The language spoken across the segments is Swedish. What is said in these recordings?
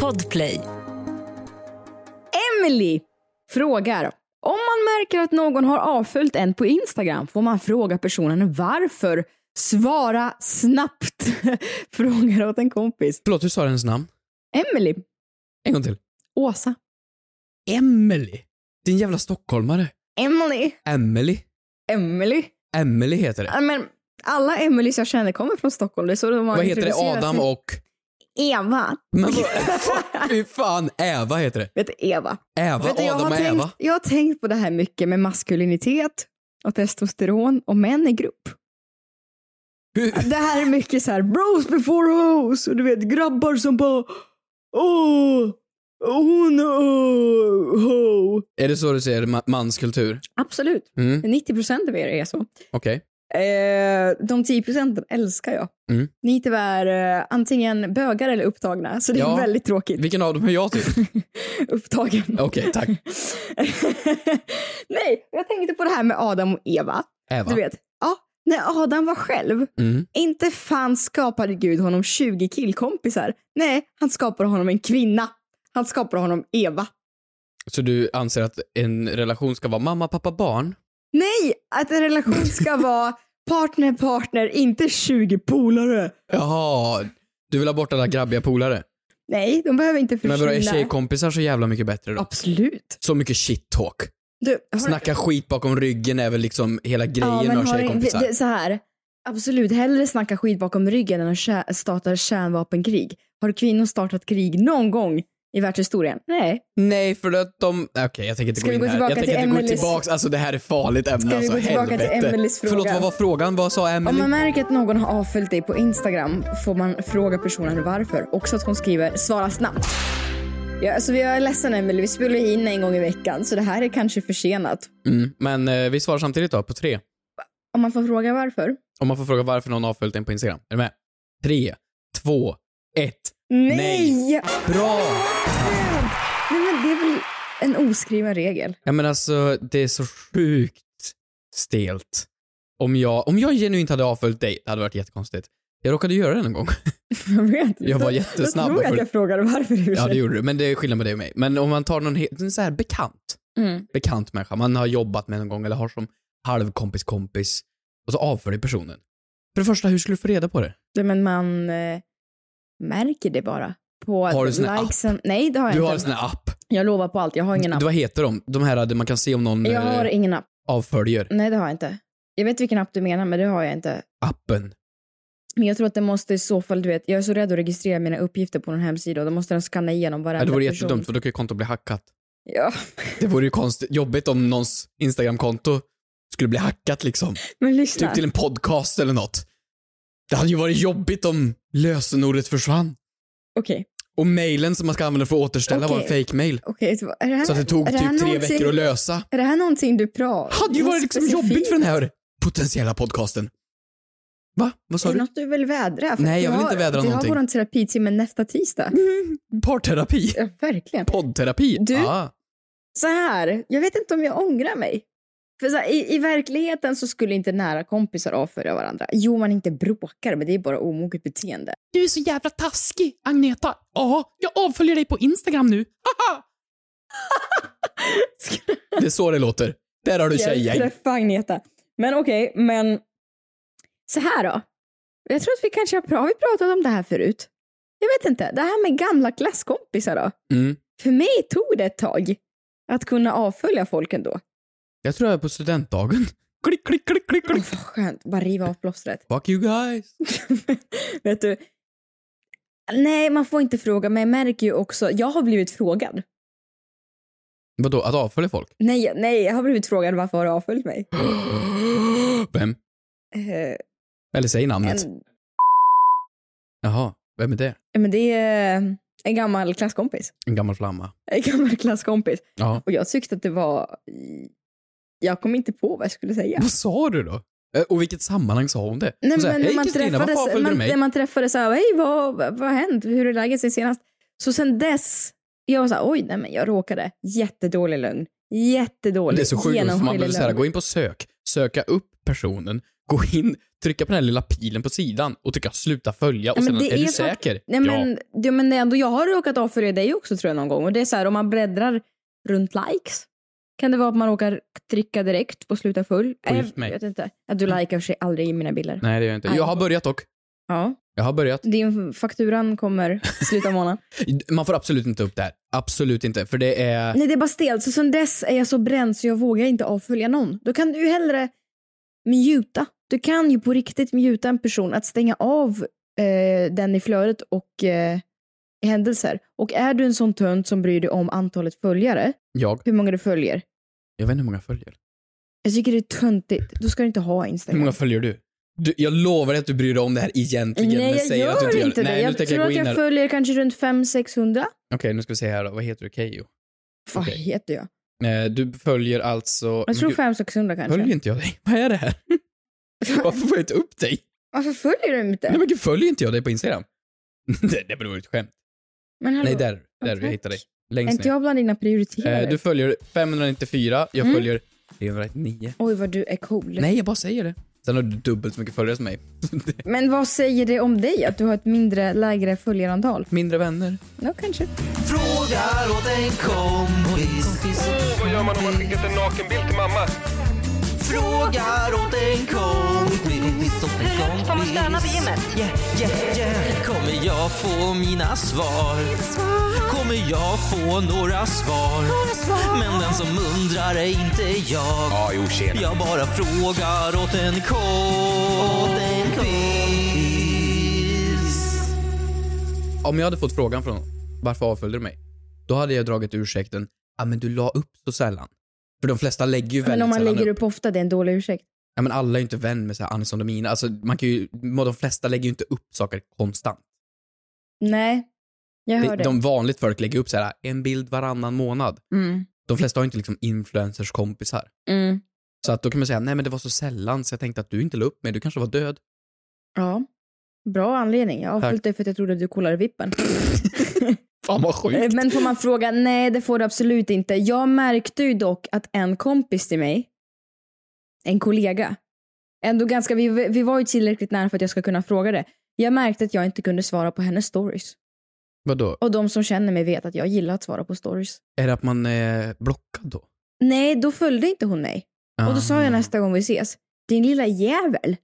Podplay. Emily frågar. Om man märker att någon har avföljt en på Instagram får man fråga personen varför. Svara snabbt. frågar åt en kompis. Förlåt, hur sa du hennes namn? Emily. En gång till. Åsa. Emily. Din jävla stockholmare. Emily. Emily. Emily. Emily heter det. Ja, Men alla Emilys jag känner kommer från Stockholm. Det är så de har Vad heter det? introducerat Adam sig. och... Eva. Men vad... Fy fan, Eva heter det. Vet du, Eva. Eva, Vet du, jag, Adam har och Eva. tänkt, jag har tänkt på det här mycket med maskulinitet och testosteron och män i grupp. Hur... Det här är mycket så här bros before hoes och du vet grabbar som bara åh, hon åh, ho. Är det så du ser ma- manskultur? Absolut. Mm, 90 procent av er är så. okej. Eh, de 10 procenten älskar jag. Mm. Ni är tyvärr eh, antingen bögar eller upptagna, så det är Ja. väldigt tråkigt. Vilken av dem är jag typ? Upptagen. Okej, tack. Nej, jag tänkte på det här med Adam och Eva. Eva. Du vet, ja, när Adam var själv, Mm. inte fan skapade Gud honom 20 killkompisar. Nej, han skapade honom en kvinna. Han skapade honom Eva. Så du anser att en relation ska vara mamma, pappa, barn? Nej, att en relation ska vara partner, partner, inte 20 polare. Jaha, du vill ha bort alla grabbiga polare? Nej, de behöver inte försvinna. Men vadå, är tjejkompisar så jävla mycket bättre då? Absolut. Så mycket shit-talk. Du, har du- Snacka skit bakom ryggen är väl liksom hela grejen med har en- tjejkompisar? det- det- Så här, absolut, hellre snacka skit bakom ryggen än att kä- starta kärnvapenkrig. Har kvinnor startat krig någon gång i världshistorien? Nej. Nej, för att de... Okej, jag tänker inte Ska gå vi in gå här. Jag tillbaka tänker till inte gå Emelies- tillbaks. Alltså det här är farligt ämne vi alltså. gå tillbaka till helvete. Emelies fråga? Förlåt, vad var frågan? Vad sa Om Emily? man märker att någon har avföljt dig på Instagram får man fråga personen varför. Också att hon skriver “svara snabbt”. Ja, alltså vi är ledsen Emelie, vi spelar ju in en gång i veckan så det här är kanske försenat. Mm, men eh, vi svarar samtidigt då, på tre. Om man får fråga varför? Om man får fråga varför någon har följt en på Instagram. Är du med? Tre, två, ett. Nej! Nej. Bra! Nej men det är väl en oskriven regel. Ja men alltså, det är så sjukt stelt. Om jag, om jag genuint hade avföljt dig, det hade varit jättekonstigt. Jag råkade göra det en gång. Jag vet inte. Jag var Jag jättesnabb. tror och att följde- jag frågade varför i och för Ja, det sig. gjorde du. Men det är skillnad med dig och mig. Men om man tar någon helt, en så här bekant, Mm. bekant människa man har jobbat med någon gång eller har som halvkompis kompis och så avföljer personen. För det första, hur skulle du få reda på det? Nej, men man eh, märker det bara. På Har du sån här likesen. Nej det har jag Du inte. har en sån här app. Jag lovar på allt, jag har ingen app. Du, vad heter de? De här där man kan se om någon Jag har eh, ingen app. avföljer. Nej det har jag inte. Jag vet vilken app du menar men det har jag inte. Appen. Men jag tror att det måste i så fall, du vet, jag är så rädd att registrera mina uppgifter på någon hemsida och då måste den skanna igenom Ja, varenda det vore person. jättedumt för då kan ju kontot bli hackat. Ja, Det vore ju konstigt, jobbigt om någons Instagram-konto skulle bli hackat liksom. men lyssna. Typ till en podcast eller något. Det hade ju varit jobbigt om lösenordet försvann. Okej, Och mailen som man ska använda för att återställa var en Okej. fake mail okej. så är, det här Så att det tog är det här typ tre någonting- veckor att lösa. är det här någonting du pratar hade ju varit liksom jobbigt för den här potentiella podcasten. Va? Vad sa Är det du? något du vill vädra? Nej, jag vi vill har- inte vädra någonting. Vi har vår terapitimme nästa tisdag. Parterapi? Ja, verkligen. Poddterapi? Du? Ah. Så här, jag vet inte om jag ångrar mig. För så här, i, I verkligheten så skulle inte nära kompisar avföra varandra. Jo, man inte bråkar, men det är bara omoget beteende. Du är så jävla taskig, Agneta. Ja, jag avföljer dig på Instagram nu. Det är så det låter. Där har du Jag tjejen. träffade Agneta. Men okej, men så här då. Jag tror att vi kanske har, pra- har vi pratat om det här förut. Jag vet inte, det här med gamla klasskompisar då. Mm. För mig tog det ett tag att kunna avfölja folk ändå. Jag tror jag är på studentdagen. Klick, klick, klick, klick, klick. Vad skönt, bara riva av plåstret. Fuck you guys. Vet du? Nej, man får inte fråga, men jag märker ju också, jag har blivit frågad. Vadå, att avfölja folk? Nej, nej, jag har blivit frågad varför har du avföljt mig? Vem? Eh, Eller säg namnet. en, Jaha, vem är det? men det är eh, en gammal klasskompis. En gammal flamma. En gammal klasskompis. Ja. Och jag tyckte att det var... Jag kom inte på vad jag skulle säga. Vad sa du då? Eh, Och vilket sammanhang sa hon det? Hon sa, Hej Kristina, varför avföljde du man, när mig? man träffades så här, hej vad, vad har hänt, hur är läget sen senast? Så sen dess, jag var så här, oj nej men jag råkade, jättedålig lögn, jättedålig, Det är så sjukt, för man genomskinlig behöver så här, lögn. gå in på sök, söka upp personen, gå in, trycka på den här lilla pilen på sidan och trycka sluta följa och Ja, men sen det är är, du fakt- säker? Nej, men, ja, men det är ändå, jag har råkat avfölja dig också tror jag någon gång. Och det är så här, om man bläddrar runt likes. Kan det vara att man råkar trycka direkt på sluta full? Eh, På just mig. Mm. Jag vet inte. Att du likar för sig aldrig i mina bilder. Nej, det gör jag inte. Nej. Jag har börjat dock. Ja. Jag har börjat. Din fakturan kommer i slutet av månaden. Man får absolut inte ta upp det här. Absolut inte. För det är... Nej, det är bara stelt. Så sen dess är jag så bränd så jag vågar inte avfölja någon. Då kan du ju hellre muta. Du kan ju på riktigt muta en person, att stänga av eh, den i flödet och eh, händelser. Och är du en sån tönt som bryr dig om antalet följare, Jag. hur många du följer. Jag vet inte hur många jag följer. Jag tycker det är töntigt. Då ska du inte ha Hur Instagram. många följer du? du jag lovar dig att du bryr dig om det här egentligen. men Nej, jag säger att du gör inte inte Nej, det. nu Jag tänker tror jag gå att in jag här. följer kanske runt 500-600. Okej, nu ska vi se här då. Vad heter du? Keyyo? Vad Okej. heter jag? Eh, Du följer alltså... Men Jag tror gud, 500-600 kanske. Följer inte jag dig? Vad är det här? Varför får jag inte upp dig? Varför följer du inte? Nej men gud, följer inte jag dig på Instagram? det, det beror ett skämt. Men hallå, Nej, där. Där, jag tack. hittade dig. Är Längst inte ner. jag bland dina prioriterade? Eh, Du följer 594, jag Mm. följer 309. Oj, vad du är cool. Nej, jag bara säger det. Sen har du dubbelt så mycket följare som mig. Men vad säger det om dig att du har ett mindre, lägre följarantal? Mindre vänner. Ja, kanske. Frågar åt en kompis. Vad gör man om man skickat en nakenbild till mamma? Frågar åt en kompis. åt en kompis. Får man stanna vid gymmet? Yeah, yeah, yeah. Kommer jag få mina svar? Kommer jag få några svar? Men den som undrar är inte jag. Ja, jo, tjena. Jag bara frågar åt en kompis. Om jag hade fått frågan från honom, varför avföljde du mig? Då hade jag dragit ursäkten, ja men du la upp så sällan. För de flesta lägger ju väldigt Men om man sällan lägger upp. upp ofta, det är en dålig ursäkt. Ja, men alla är ju inte vän med så här Anison och Mina. Alltså, man kan ju, de flesta lägger ju inte upp saker konstant. Nej, jag hör Det, det. de vanligt folk lägger upp så här, en bild varannan månad. Mm. De flesta har ju inte liksom influencers kompisar. Mm. Så att då kan man säga, nej men det var så sällan så jag tänkte att du inte la upp mig, du kanske var död. Ja. Bra anledning. Jag Tack. avföljde dig för att jag trodde att du kollade vippen. Fan vad Eh, sjukt. Men får man fråga, nej det får du absolut inte. Jag märkte ju dock att en kompis till mig, en kollega, ändå ganska, vi, vi var ju tillräckligt nära för att jag ska kunna fråga det. Jag märkte att jag inte kunde svara på hennes stories. Vadå? Och de som känner mig vet att jag gillar att svara på stories. Är det att man är blockad då? Ah. Nej, då följde inte hon mig. Och då sa jag nästa gång vi ses, din lilla jävel,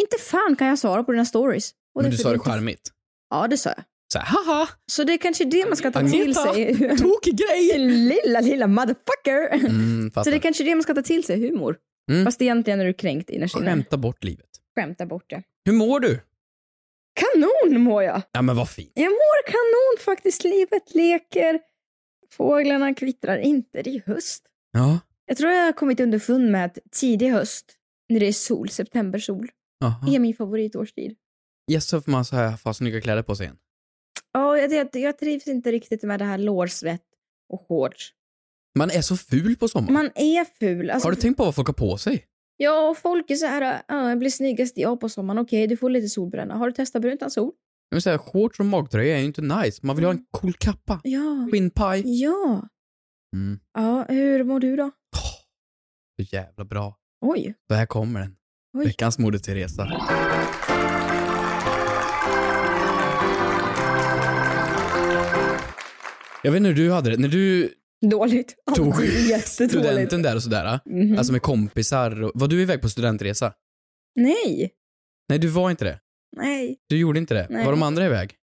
inte fan kan jag svara på dina stories. Och Men är du för sa det inte- charmigt. Ja, det sa jag. Så här, haha, Så det är kanske det man ska ta till Agneta, sig. tokig grej! Din lilla, lilla motherfucker. Mm, Så fattar. det är kanske det man ska ta till sig, humor. Mm. Fast egentligen är du kränkt innerst inne. Skämta bort livet. Skämta bort det. Hur mår du? Kanon mår jag! Ja men vad fint. Jag mår kanon faktiskt. Livet leker. Fåglarna kvittrar inte. Det är höst. Ja. Jag tror jag har kommit underfund med att tidig höst, när det är sol, septembersol, Jaha. är min favoritårstid. Yes, så får man så här fast snygga kläder på sig igen. Ja, jag, jag, jag trivs inte riktigt med det här lårsvett och shorts. Man är så ful på sommaren. Man är ful. Alltså, Mm. Har du tänkt på vad folk har på sig? Ja, och folk är så här, "Ah, jag blir snyggast jag på sommaren. Okej, du får lite solbränna. Har du testat brunt utan sol? Jag vill säga, shorts och magtröja är ju inte nice. Man vill ha en cool kappa. Ja. Skinnpaj. Ja. Mm. Ja, hur mår du då? Så jävla bra. Oj. Så här kommer den. Oj. Veckans Moder Teresa. Jag vet inte hur du hade det. När du Dåligt. tog Alltid jättedåligt. studenten där och sådär. Mhm. Alltså med kompisar. Och, var du iväg på studentresa? Nej. Nej, du var inte det. Nej. Du gjorde inte det. Nej. Var de andra iväg?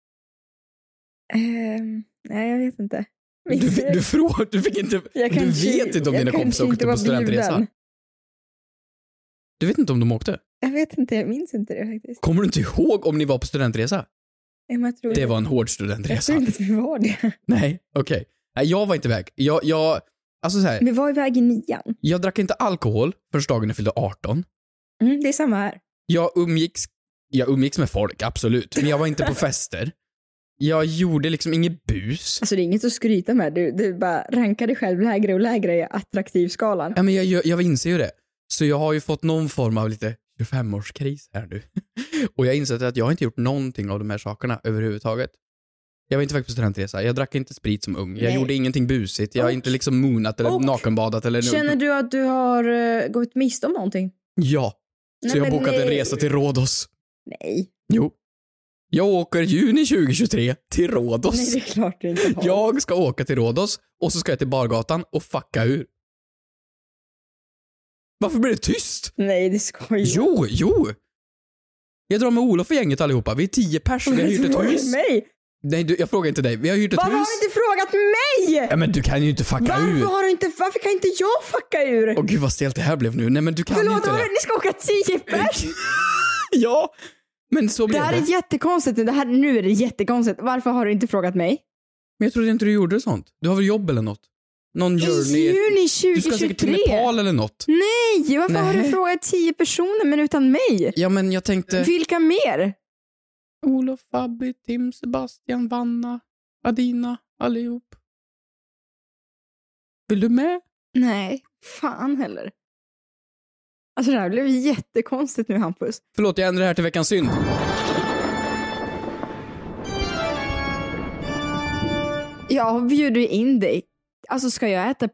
Ehm, nej, jag vet inte. Du, du, frå, du fick inte... Jag du kanske- vet inte om jag dina kanske kompisar åkte inte på var studentresa. bjuden. Du vet inte om de åkte? Jag vet inte, jag minns inte det faktiskt. Kommer du inte ihåg om ni var på studentresa? Nej, men Jag tror Det var en hård Mm. jag studentresa. tror inte att vi var det. Nej, okej. Nej, jag var inte iväg. Jag, jag, alltså så här, Vi var iväg i nian. jag drack inte alkohol förrän dagen jag fyllde 18. Mm, det är samma här. Jag umgicks, jag umgicks med folk, absolut. Men jag var inte på fester. Jag gjorde liksom inget bus. Alltså det är inget att skryta med. Du, du bara rankar dig själv lägre och lägre i attraktivskalan. Ja, men jag, jag, jag inser ju det. Så jag har ju fått någon form av lite 25-årskris här nu. Och jag har insett att jag har inte gjort någonting av de här sakerna överhuvudtaget. Jag var inte iväg på studentresa, jag drack inte sprit som ung, jag Nej. gjorde ingenting busigt, jag har Och- inte liksom moonat eller och- nakenbadat eller... Känner du att du har eh, gått miste om någonting? Ja. Nej, så jag har men bokat en nej. resa till Rhodos. Nej. Jo. Jag åker juni 2023 till Rhodos. Nej, det är klart du inte har. Jag ska åka till Rhodos och så ska jag till bargatan och fucka ur. Varför blir det tyst? Nej, det ska jag. Jo, jo! Jag drar med Olof och gänget allihopa. Vi är tio pers. Vi har hyrt ett hus. Mig. Nej, du, jag frågar inte dig. Vi har hyrt ett Varför hus. har du inte frågat mig? Ja, men du kan ju inte fucka Varför, ur. har du inte, varför kan inte jag fucka ur? Åh gud vad stelt det här blev nu. Nej men du kan Förlåt, inte vad var det. det? ni ska åka tio pers? Ja, men så Det blev här det. är jättekonstigt. Det här, nu är det jättekonstigt. Varför har du inte frågat mig? Men jag trodde inte du gjorde sånt. Du har väl jobb eller något? Någon I journey. juni Du ska säkert till 2023? Nepal eller något. Nej, varför har du Nej. frågat tio personer men utan mig? Ja men jag tänkte... Vilka mer? Olof, Fabby, Tim, Sebastian, Vanna, Adina, allihop. Vill du med? Nej, fan heller. Alltså det här blev jättekonstigt nu Hampus. Förlåt, jag ändrar det här till veckans synd. Jag bjuder in dig. Alltså ska jag äta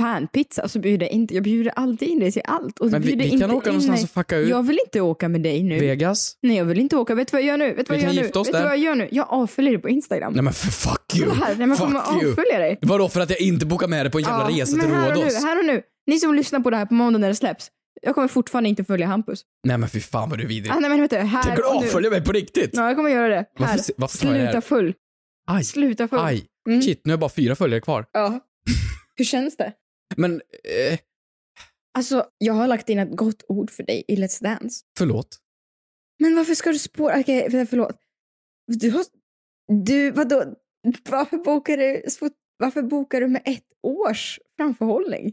panpizza så bjuder jag inte. Jag bjuder alltid in dig till allt. Och Men vi, bjuder vi inte kan åka in någonstans mig. och fucka ut. Jag vill inte åka med dig nu. Vegas. Nej, jag vill inte åka. Vet du vad jag gör nu? Vet du vad Vi jag kan gör nu? gifta oss Vet du där. vad jag gör nu? Jag avföljer dig på Instagram. Nej men för fuck you. Kolla här, nej, men jag kommer Fuck you. avfölja dig. Vadå för att jag inte bokar med dig på en jävla Ja, resa men till här och, Rhodos? nu, här och nu. Ni som lyssnar på det här på måndag när det släpps. Jag kommer fortfarande inte följa Hampus. Nej men fy fan vad du är vidrig. Ah, nej, men vet du, Tänker du här och nu. avfölja mig på riktigt? Ja, jag kommer göra det. Varför Här. se- varför tar jag det här? Sluta full. Aj, Sluta full. aj. Mm. Shit, nu har jag bara fyra följare kvar. Ja. Hur känns det? Men, eh, Alltså, jag har lagt in ett gott ord för dig i Let's Dance. förlåt. Men varför ska du spåra? Okej, för- förlåt. Du har... Du, vadå? Varför bokar du, varför bokar du med ett års framförhållning?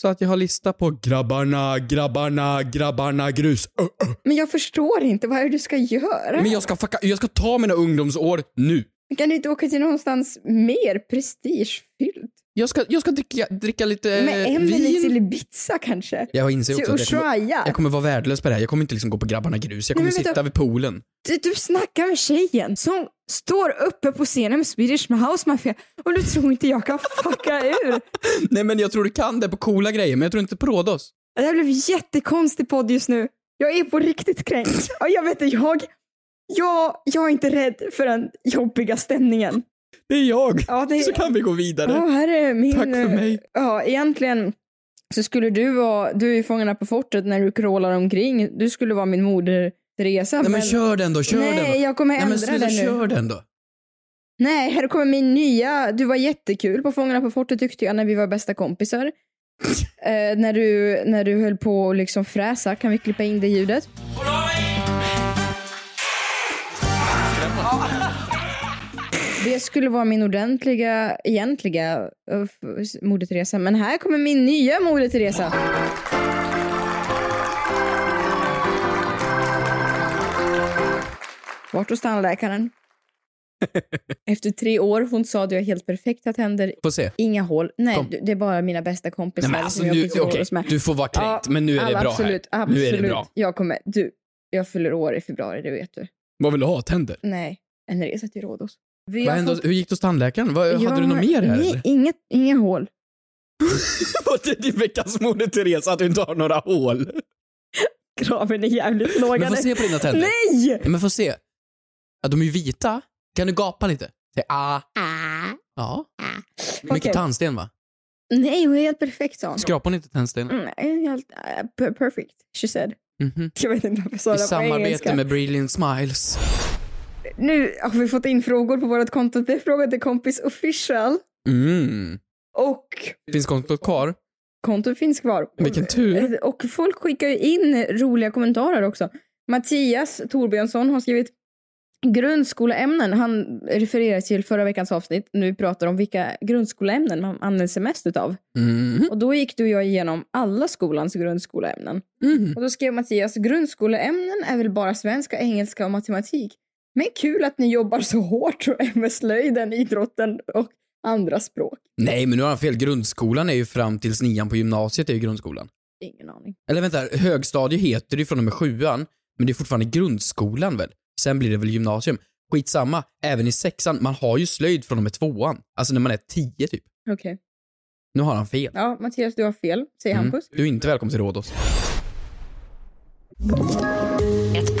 Så att jag har lista på grabbarna, grabbarna, grabbarna grus. Ö, ö. Men jag förstår inte. Vad är det du ska göra? Men jag ska, fucka, jag ska ta mina ungdomsår nu. Kan du inte åka till någonstans mer prestigefyllt? Jag ska, jag ska dricka, dricka lite med eh, Emelie vin. till Ibiza kanske? Jag inser Till också att jag kommer, Ushuaia? jag kommer vara värdelös på det här. Jag kommer inte liksom gå på grabbarna grus. Jag Nej, kommer men vänta. sitta vid poolen. Du, du snackar med tjejen som står uppe på scenen med Swedish House Mafia och du tror inte jag kan fucka ur? Nej men jag tror du kan det på coola grejer, men jag tror inte på Rhodos. Det här blev en jättekonstig podd just nu. Jag är på riktigt kränkt. Ja, jag vet inte, jag, jag, jag är inte rädd för den jobbiga stämningen. Det är jag. Ja, det, Så kan vi gå vidare. ja, här är min... eh, Tack för mig. Ja, egentligen så skulle du vara, du är ju Fångarna på fortet när du krålar omkring. Du skulle vara min moder Teresa. Nej men kör den då, kör den då. Nej, jag kommer Nej ändra men snälla det nu. kör den då. Nej, här kommer min nya. Du var jättekul på Fångarna på fortet tyckte jag när vi var bästa kompisar. eh, när, du, när du höll på att liksom fräsa. Kan vi klippa in det ljudet? Det skulle vara min ordentliga, egentliga eh, f- Moder Teresa. Men här kommer min nya Moder Teresa. Vart hos tandläkaren? Efter tre år, hon sa att jag är helt perfekta tänder, Får se. inga hål. Nej, Kom. du, det är bara mina bästa kompisar Nej men alltså som jag nu, fick okej. hålhås med. Du får vara kränkt, men nu är det alla, bra absolut, här. Absolut, Nu är det bra. Jag kommer, du, jag fyller år i februari, det vet du. Vad vill du ha? Tänder? Nej, en resa till Rhodos. Vi Vad har hände, fått- hur gick det hos tandläkaren? Vad, hade du något mer här Nej, eller? inget, inga hål. Det är din veckans moder Teresa att du inte har några hål. Kraven är jävligt låga Men få nu. se på dina tänder. Nej! Ja, Men få se. Ja, de är ju vita. Kan du gapa lite? Säg ah. Ja. Mycket Ah. Okej. tandsten va? Nej, hon är helt perfekt sa hon. Skrapar hon inte tandstenen? Nej, helt eh, per- perfect, she said. Mhm. Jag vet inte varför jag sa I det Mm. på engelska. samarbete med Brilliant Smiles. Nu har vi fått in frågor på vårt konto. Det är frågor till kompis official. Mm. Och Finns kontot kvar? kontot finns kvar. Eh, Vilken tur. Och folk skickar ju in roliga kommentarer också. Mattias Torbjörnsson har skrivit grundskoleämnen. Han refererar till förra veckans avsnitt när vi pratar om vilka grundskoleämnen man använder sig mest utav. Mm. Och då gick du och jag igenom alla skolans grundskoleämnen. Mm. Och då skrev Mattias, grundskoleämnen är väl bara svenska, engelska och matematik. Men kul att ni jobbar så hårt med slöjden, idrotten och andra språk. Nej, men nu har han fel. Grundskolan är ju fram tills nian på gymnasiet är ju grundskolan. Ingen aning. Eller vänta, högstadie heter det ju från och med sjuan, men det är fortfarande grundskolan väl? Sen blir det väl gymnasium? Skitsamma, även i sexan, man har ju slöjd från och med tvåan. Alltså när man är tio typ. Okej. Nu har han fel. Ja, Mattias, du har fel, säger Mm. Hampus. Du är inte välkommen till Rhodos. Ett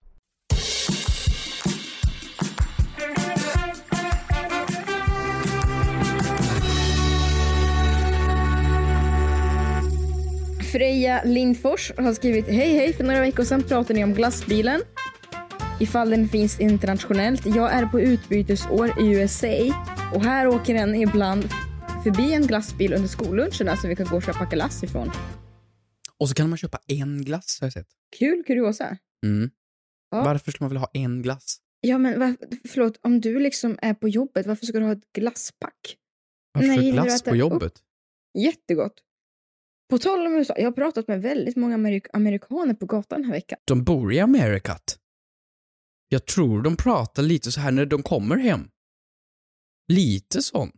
Freja Lindfors har skrivit Hej hej, för några veckor sedan pratade ni om glassbilen. Ifall den finns internationellt. Jag är på utbytesår i USA och här åker den ibland förbi en glassbil under skolluncherna som vi kan gå och köpa glass ifrån. Och så kan man köpa en glass har jag sett. Kul kuriosa. Mm. Ja. Varför skulle man vilja ha en glass? Ja men varf- förlåt, om du liksom är på jobbet, varför ska du ha ett glasspack? Varför Nej, gillar du glass att på det- jobbet? Jättegott. På tal om USA, jag har pratat med väldigt många amerik- amerikaner på gatan den här veckan. De bor i Amerikat. Jag tror de pratar lite så här när de kommer hem. Lite sån.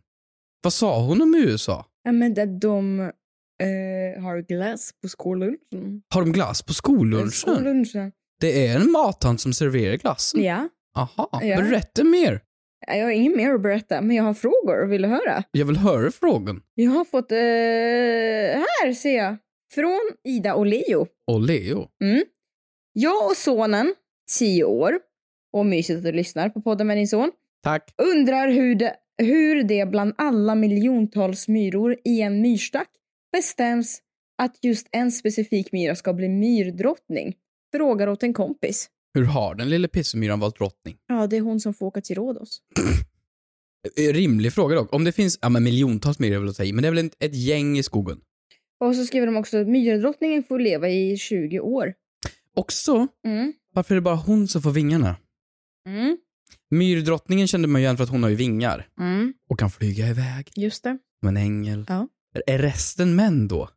Vad sa hon om USA? Ja, men där de eh, har glass på skollunchen. Har de glass på skollunchen? Skollunchen. Det är en mattant som serverar glassen. Ja. Aha, Ja. berätta mer. Ja, Jag har inget mer att berätta, men jag har frågor. Vill du höra? Jag vill höra frågan. Jag har fått... Eh, här ser jag. Från Ida och Leo. Och Leo. Jag och sonen, 10 år, och mysigt att du lyssnar på podden med din son, Tack. undrar hur det, hur det bland alla miljontals myror i en myrstack bestäms att just en specifik myra ska bli myrdrottning. Frågar åt en kompis. Hur har den lilla pissemyran valt drottning? Ja, det är hon som får åka till Rhodos. Eh, Rimlig fråga dock. Om det finns, ja men miljontals myror vill jag säga, men det är väl ett, ett gäng i skogen. Och så skriver de också att myrdrottningen får leva i 20 år. Också, Mm. varför är det bara hon som får vingarna? Mm. Myrdrottningen kände man ju igen för att hon har ju vingar Mm. och kan flyga iväg Just det. som en ängel. Ja. Är- Är resten män då?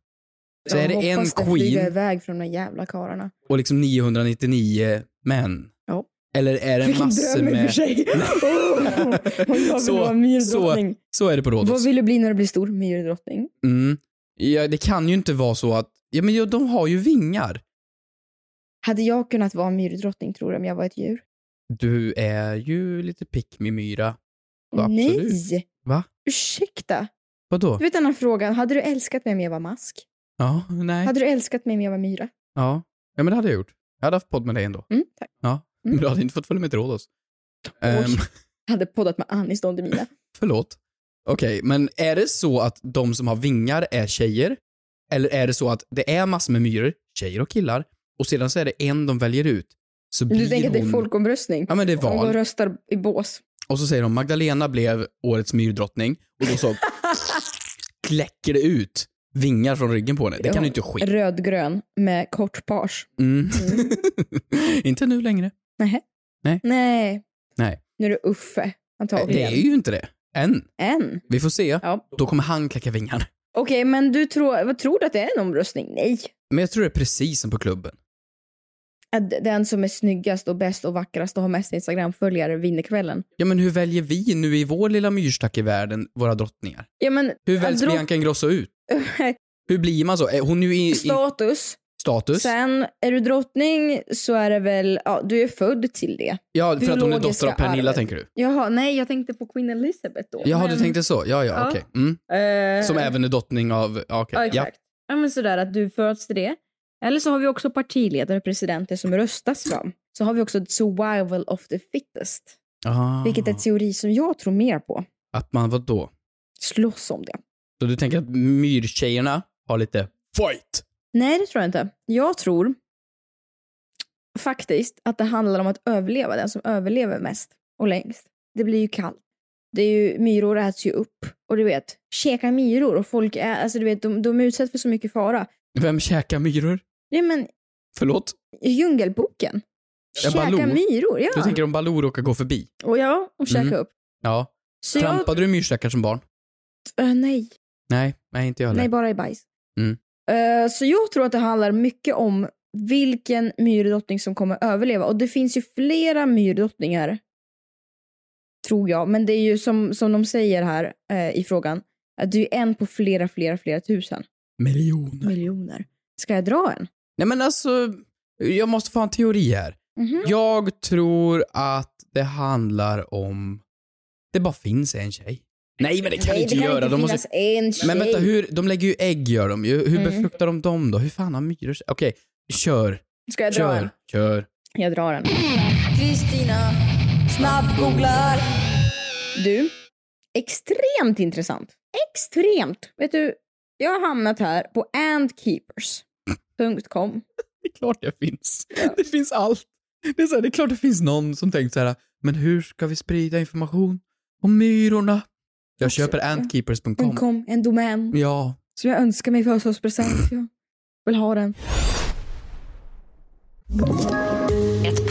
Så är det en flyger queen iväg från de där jävla karlarna. och liksom 999 män? Ja. Eller är det massor med... sig. Åh, jag vill Så- vara myrdrottning. Så är det på Vad Rhodos. vill du bli när du blir stor? Myrdrottning. Mm. Ja, det kan ju inte vara så att... Ja, men ja, de har ju vingar. Hade jag kunnat vara myrdrottning tror du om jag var ett djur? Du är ju lite pick me myra. Ja, absolut. Nej! Va? Ursäkta. Vadå? Du vet den här frågan, hade du älskat mig om jag var mask? Ja, nej. Hade du älskat mig om jag var myra? Ja. ja, men det hade jag gjort. Jag hade haft podd med dig ändå. Mm, tack. Ja, Mm. men du hade inte fått följa med till Rhodos. Ehm, Jag hade poddat med Annie Stånd i mina. förlåt. Okej, men är det så att de som har vingar är tjejer? Eller är det så att det är massor med myror, tjejer och killar, och sedan så är det en de väljer ut? Så Du blir tänker att det är hon... folkomröstning? Ja, men det är De går och val. röstar i bås. Och så säger de Magdalena blev årets myrdrottning och då så kläcker det ut vingar från ryggen på henne. Det kan ju inte ske. Rödgrön med kort page. Mm. Mm. inte nu längre. Nej. Nej. Nu är det Uffe Det antagligen. är ju inte det. Än. En. Vi får se. Ja. Då kommer han kläcka vingarna. Okej, men du tror, vad tror du att det är en omröstning? Nej. Men jag tror det är precis som på klubben. Att den som är snyggast och bäst och vackrast och har mest Instagram-följare vinner kvällen. Ja, men hur väljer vi nu i vår lilla myrstack i världen våra drottningar? Ja, men Hur väljs drott- Bianca Ingrosso ut? Hur blir man så? Är hon nu i, i status. status? Sen är du drottning så är det väl, ja du är född till det. Ja, för att hon är biologiska dotter av Pernilla arvet. tänker du? Jaha, nej jag tänkte på Queen Elizabeth då. Jaha, men, du tänkte så. Ja, ja, Ja. okej. Mm. eh, Som även är drottning av... Ja, okej. Ja ja. exakt. Ja. men sådär att du föds till det. Eller så har vi också partiledare och presidenter som röstas fram. Så har vi också ett survival of the fittest. Ah. Vilket är en teori som jag tror mer på. Att man vad då? Slåss om det. Så du tänker att myrtjejerna har lite fight? Nej, det tror jag inte. Jag tror faktiskt att det handlar om att överleva. Den som överlever mest och längst. Det blir ju kallt. Det är ju, myror äts ju upp. Och du vet, käka myror och folk är, alltså du vet, de, de utsätts för så mycket fara. Vem käkar myror? Nej men, Förlåt? i Djungelboken. Ja, Käka Baloo. myror, ja. Du tänker om Baloo råkar gå förbi? Och ja, och käka Mm. upp. Ja. Så jag, Trampade du myrstackar som barn? Äh, nej, Nej, nej inte jag heller. nej bara i bajs. Mm. Eh, så jag tror att det handlar mycket om vilken myrdrottning som kommer överleva. Och det finns ju flera myrdrottningar. Tror jag. Men det är ju som, som de säger här eh, i frågan. Att det är ju en på flera, flera, flera tusen. Miljoner. Miljoner. Ska jag dra en? Nej men alltså, jag måste få ha en teori här. Mhm. Jag tror att det handlar om... Det bara finns en tjej. Nej men det kan Nej, inte det kan göra. inte de finnas måste... en tjej. Men vänta, hur, de lägger ju ägg gör de ju. Hur Mm. befruktar de dem då? Hur fan har myror... Okej, kör. Ska jag dra en? Kör. Kör. Jag drar den. Kristina snabbgooglar. Du, extremt intressant. Extremt. Vet du, jag har hamnat här på antkeepers.com. Det är klart det finns. Det finns allt. Det är, så här, det är klart det finns någon som tänkt så här, men hur ska vi sprida information om myrorna? Jag köper antkeepers.com. .com, en domän Ja. som jag önskar mig i födelsedagspresent. Jag vill ha den. Ett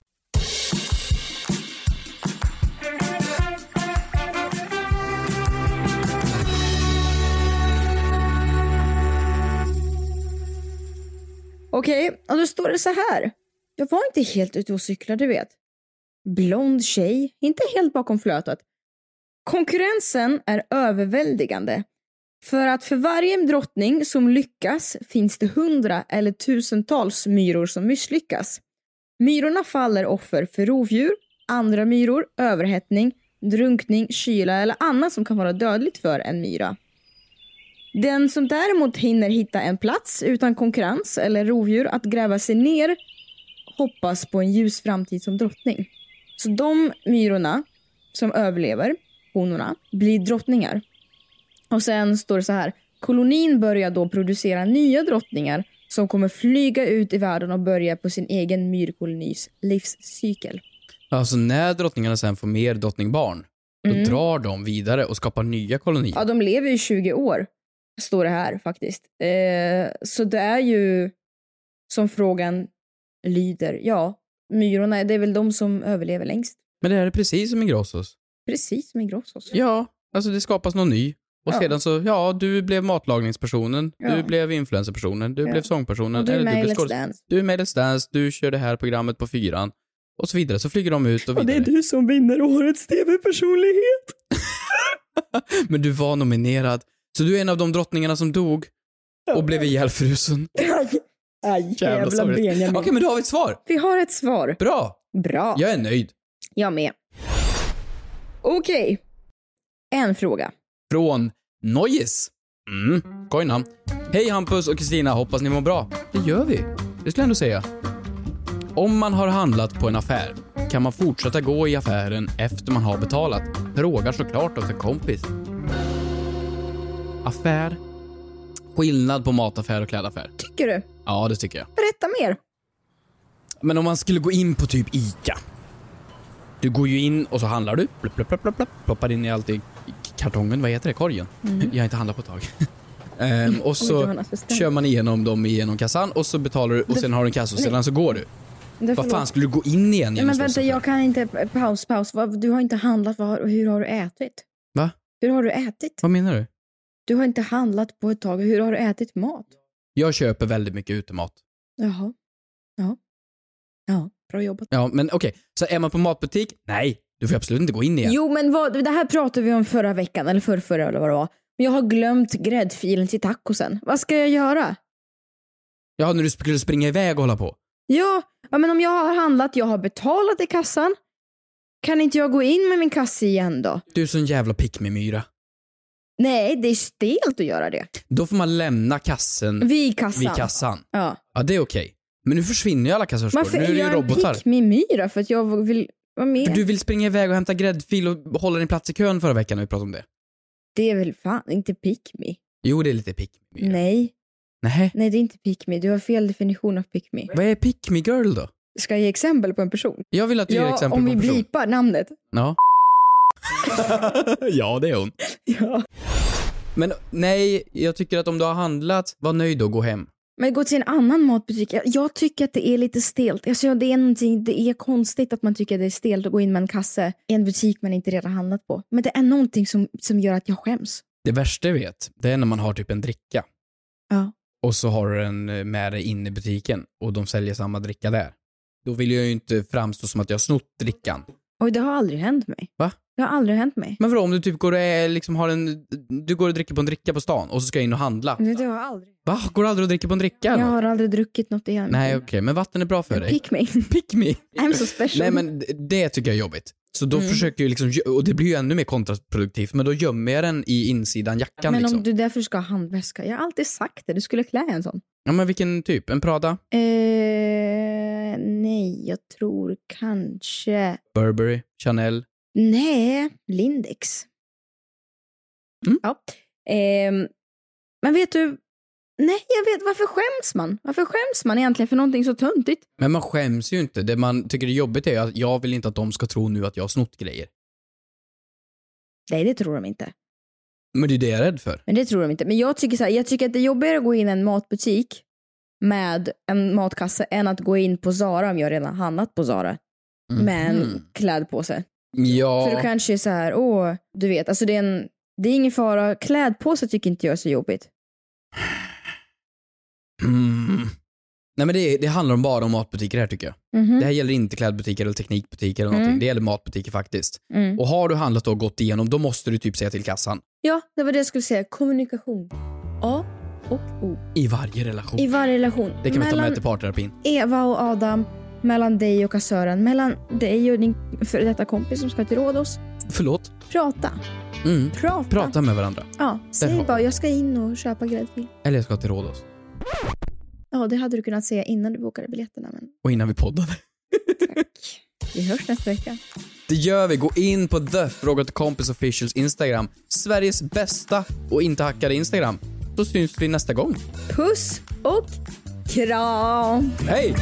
Okej, och då står det så här. Jag var inte helt ute och cyklade, du vet. Blond tjej, inte helt bakom flötet. Konkurrensen är överväldigande. För att för varje drottning som lyckas finns det hundra eller tusentals myror som misslyckas. Myrorna faller offer för rovdjur, andra myror, överhettning, drunkning, kyla eller annat som kan vara dödligt för en myra. Den som däremot hinner hitta en plats utan konkurrens eller rovdjur att gräva sig ner hoppas på en ljus framtid som drottning. Så de myrorna som överlever, honorna, blir drottningar. Och sen står det så här. Kolonin börjar då producera nya drottningar som kommer flyga ut i världen och börja på sin egen myrkolonis livscykel. Alltså när drottningarna sen får mer drottningbarn, då drar de vidare och skapar nya kolonier. Mm. Ja, de lever ju 20 år, står det här faktiskt. Eh, så det är ju som frågan lyder. Ja, myrorna, det är väl de som överlever längst. Men det här är precis som Ingrossos. Precis som i Grossos. Ja, alltså det skapas någon ny. Och Ja. sedan så, ja, du blev matlagningspersonen, Ja. du blev influencerpersonen, du Ja. blev sångpersonen, Och du är eller med du i blev Let's skådespelare. Dance. Du är med i Let's Dance, du kör det här programmet på fyran. Och så vidare. Så flyger de ut och Och det vidare. är du som vinner årets tv-personlighet. Men du var nominerad. Så du är en av de drottningarna som dog och blev ihjälfrusen. Aj, aj Jävla jävla sorgligt. Benjamin. Okej, men då har vi ett svar. Vi har ett svar. Bra. Bra. Jag är nöjd. Jag med. Okej. En fråga. Från Nojes. Mm, skoj namn. Hej Hampus och Kristina, hoppas ni mår bra. Det gör vi. Det skulle jag ändå säga. Om man har handlat på en affär, kan man fortsätta gå i affären efter man har betalat? Frågar såklart hos en kompis. Affär. Skillnad på mataffär och klädaffär. Tycker du? Ja, det tycker jag. Berätta mer. Men om man skulle gå in på typ ICA. Du går ju in och så handlar du. Plopp, plopp, plopp, plopp, plopp, ploppar in i allt i kartongen. Vad heter det? Korgen? Jag har inte handlat på ett tag. Ehm, och Mm. Oj, det så var nästan stämt. kör man igenom dem igenom kassan och så betalar du och sen har du en kassa och sedan så går du. Det Vad får vara- fan skulle du gå in igen? Nej, genom men vänta, Stockholms jag kan inte... Paus, paus. Vad- Du har inte handlat. Vad har- Hur har du ätit? affär? Va? Hur har du ätit? Vad menar du? Du har inte handlat på ett tag. Hur har du ätit mat? Jag köper väldigt mycket utemat. Jaha. Ja. Ja, bra jobbat. Ja, men okej. Så är man på matbutik? Nej, du får absolut inte gå in igen. Jo, men vad, det här pratade vi om förra veckan, eller förra, förra eller vad det var. Men jag har glömt gräddfilen till tacosen. Vad ska jag göra? Ja, när du skulle springa iväg och hålla på. Ja, ja, men om jag har handlat, jag har betalat i kassan. Kan inte jag gå in med min kasse igen då? Du är sån jävla pick-me-myra. Nej, det är stelt att göra det. Då får man lämna kassen Vid kassan. Mm. vid kassan. Ja. Ja, det är okej. Men nu försvinner ju alla kassörskor. Varför Nu är är det ju jag en robotar. pick-me-myra? För att jag vill vara med. För du vill springa iväg och hämta gräddfil och hålla din plats i kön förra veckan när vi pratade om det. Det är väl fan inte pick me? Jo, det är lite pick me. Nej, Nej. nej det är inte pick me. Du har fel definition av pick me. Vad är pick me girl då? Ska jag ge exempel på en person? Jag vill att du ger Ja, exempel om på vi en person. blipar namnet. Ja. ja, det är hon. Ja. Men nej, jag tycker att om du har handlat, var nöjd och gå hem. Men gå till en annan matbutik. Jag, jag tycker att det är lite stelt. Alltså, det, är någonting, det är konstigt att man tycker att det är stelt att gå in med en kasse i en butik man inte redan handlat på. Men det är någonting som, som gör att jag skäms. Det värsta jag vet, det är när man har typ en dricka. Ja. Och så har du den eh, med dig in i butiken och de säljer samma dricka där. Då vill jag ju inte framstå som att jag har snott drickan. Oj, det har aldrig hänt mig. Va? Det har aldrig hänt mig. Men vadå, om du typ går och eh, liksom har en, du går och dricker på en dricka på stan och så ska jag in och handla. Det, det har jag aldrig. Va? Går du aldrig och dricker på en dricka? Jag eller? har aldrig druckit något igen. Nej, okej, men vatten är bra för dig. Pick me. Pick me. I'm so special. Nej men d- det tycker jag är jobbigt. Så då Mm. försöker jag liksom, gö- och det blir ju ännu mer kontraproduktivt, men då gömmer jag den i insidan jackan Men liksom. om du därför ska ha handväska. Jag har alltid sagt det. Du skulle klä en sån. Ja men vilken typ? En Prada? Eh, nej, jag tror kanske... Burberry? Chanel? Nej, Lindex. Mm. Ja. Ehm, men vet du... Nej, jag vet. Varför skäms man? Varför skäms man egentligen för någonting så töntigt? Men man skäms ju inte. Det man tycker är jobbigt är ju att jag vill inte att de ska tro nu att jag har snott grejer. Nej, det tror de inte. Men det är det jag är rädd för. Men det tror de inte. Men jag tycker, så här, jag tycker att det är jobbigare att gå in i en matbutik med en matkasse än att gå in på Zara om jag redan handlat på Zara med en Mhm. klädpåse. För då Ja, kanske är så här, åh, du vet, alltså det är, en, det är ingen fara. Klädpåse tycker inte jag är så jobbigt. mm. Nej men det, det handlar om bara om matbutiker här tycker jag. Mhm. Det här gäller inte klädbutiker eller teknikbutiker eller någonting. Mm. Det gäller matbutiker faktiskt. Mm. Och har du handlat och gått igenom, då måste du typ säga till kassan. Ja, det var det jag skulle säga. Kommunikation. A och O. I varje relation. I varje relation. Det kan vi ta med mellan till parterapin. Eva och Adam, mellan dig och kassören, mellan dig och din före detta kompis som ska till Rhodos. Förlåt? Prata. Mm. Prata. Prata med varandra. Ja, Där har säg vi. bara jag ska in och köpa gräddfil. Eller jag ska till Rhodos. Ja, det hade du kunnat säga innan du bokade biljetterna, men Och innan vi poddade. tack. Vi hörs nästa vecka. Det gör vi. Gå in på the Fråga till kompis officials Instagram. Sveriges bästa och inte hackade Instagram. Så syns vi nästa gång. Puss och kram! Hej!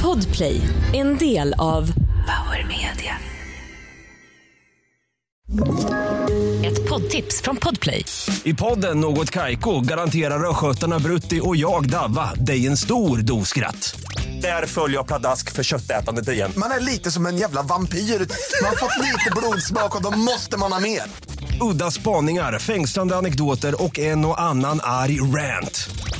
Podplay, en del av Power Media. Ett poddtips från Podplay. I podden Något Kaiko garanterar östgötarna Brutti och jag, Davva, dig en stor dos skratt. Där följer jag pladask för köttätandet igen. Man är lite som en jävla vampyr. Man har fått lite blodsmak och då måste man ha mer. Udda spaningar, fängslande anekdoter och en och annan arg rant.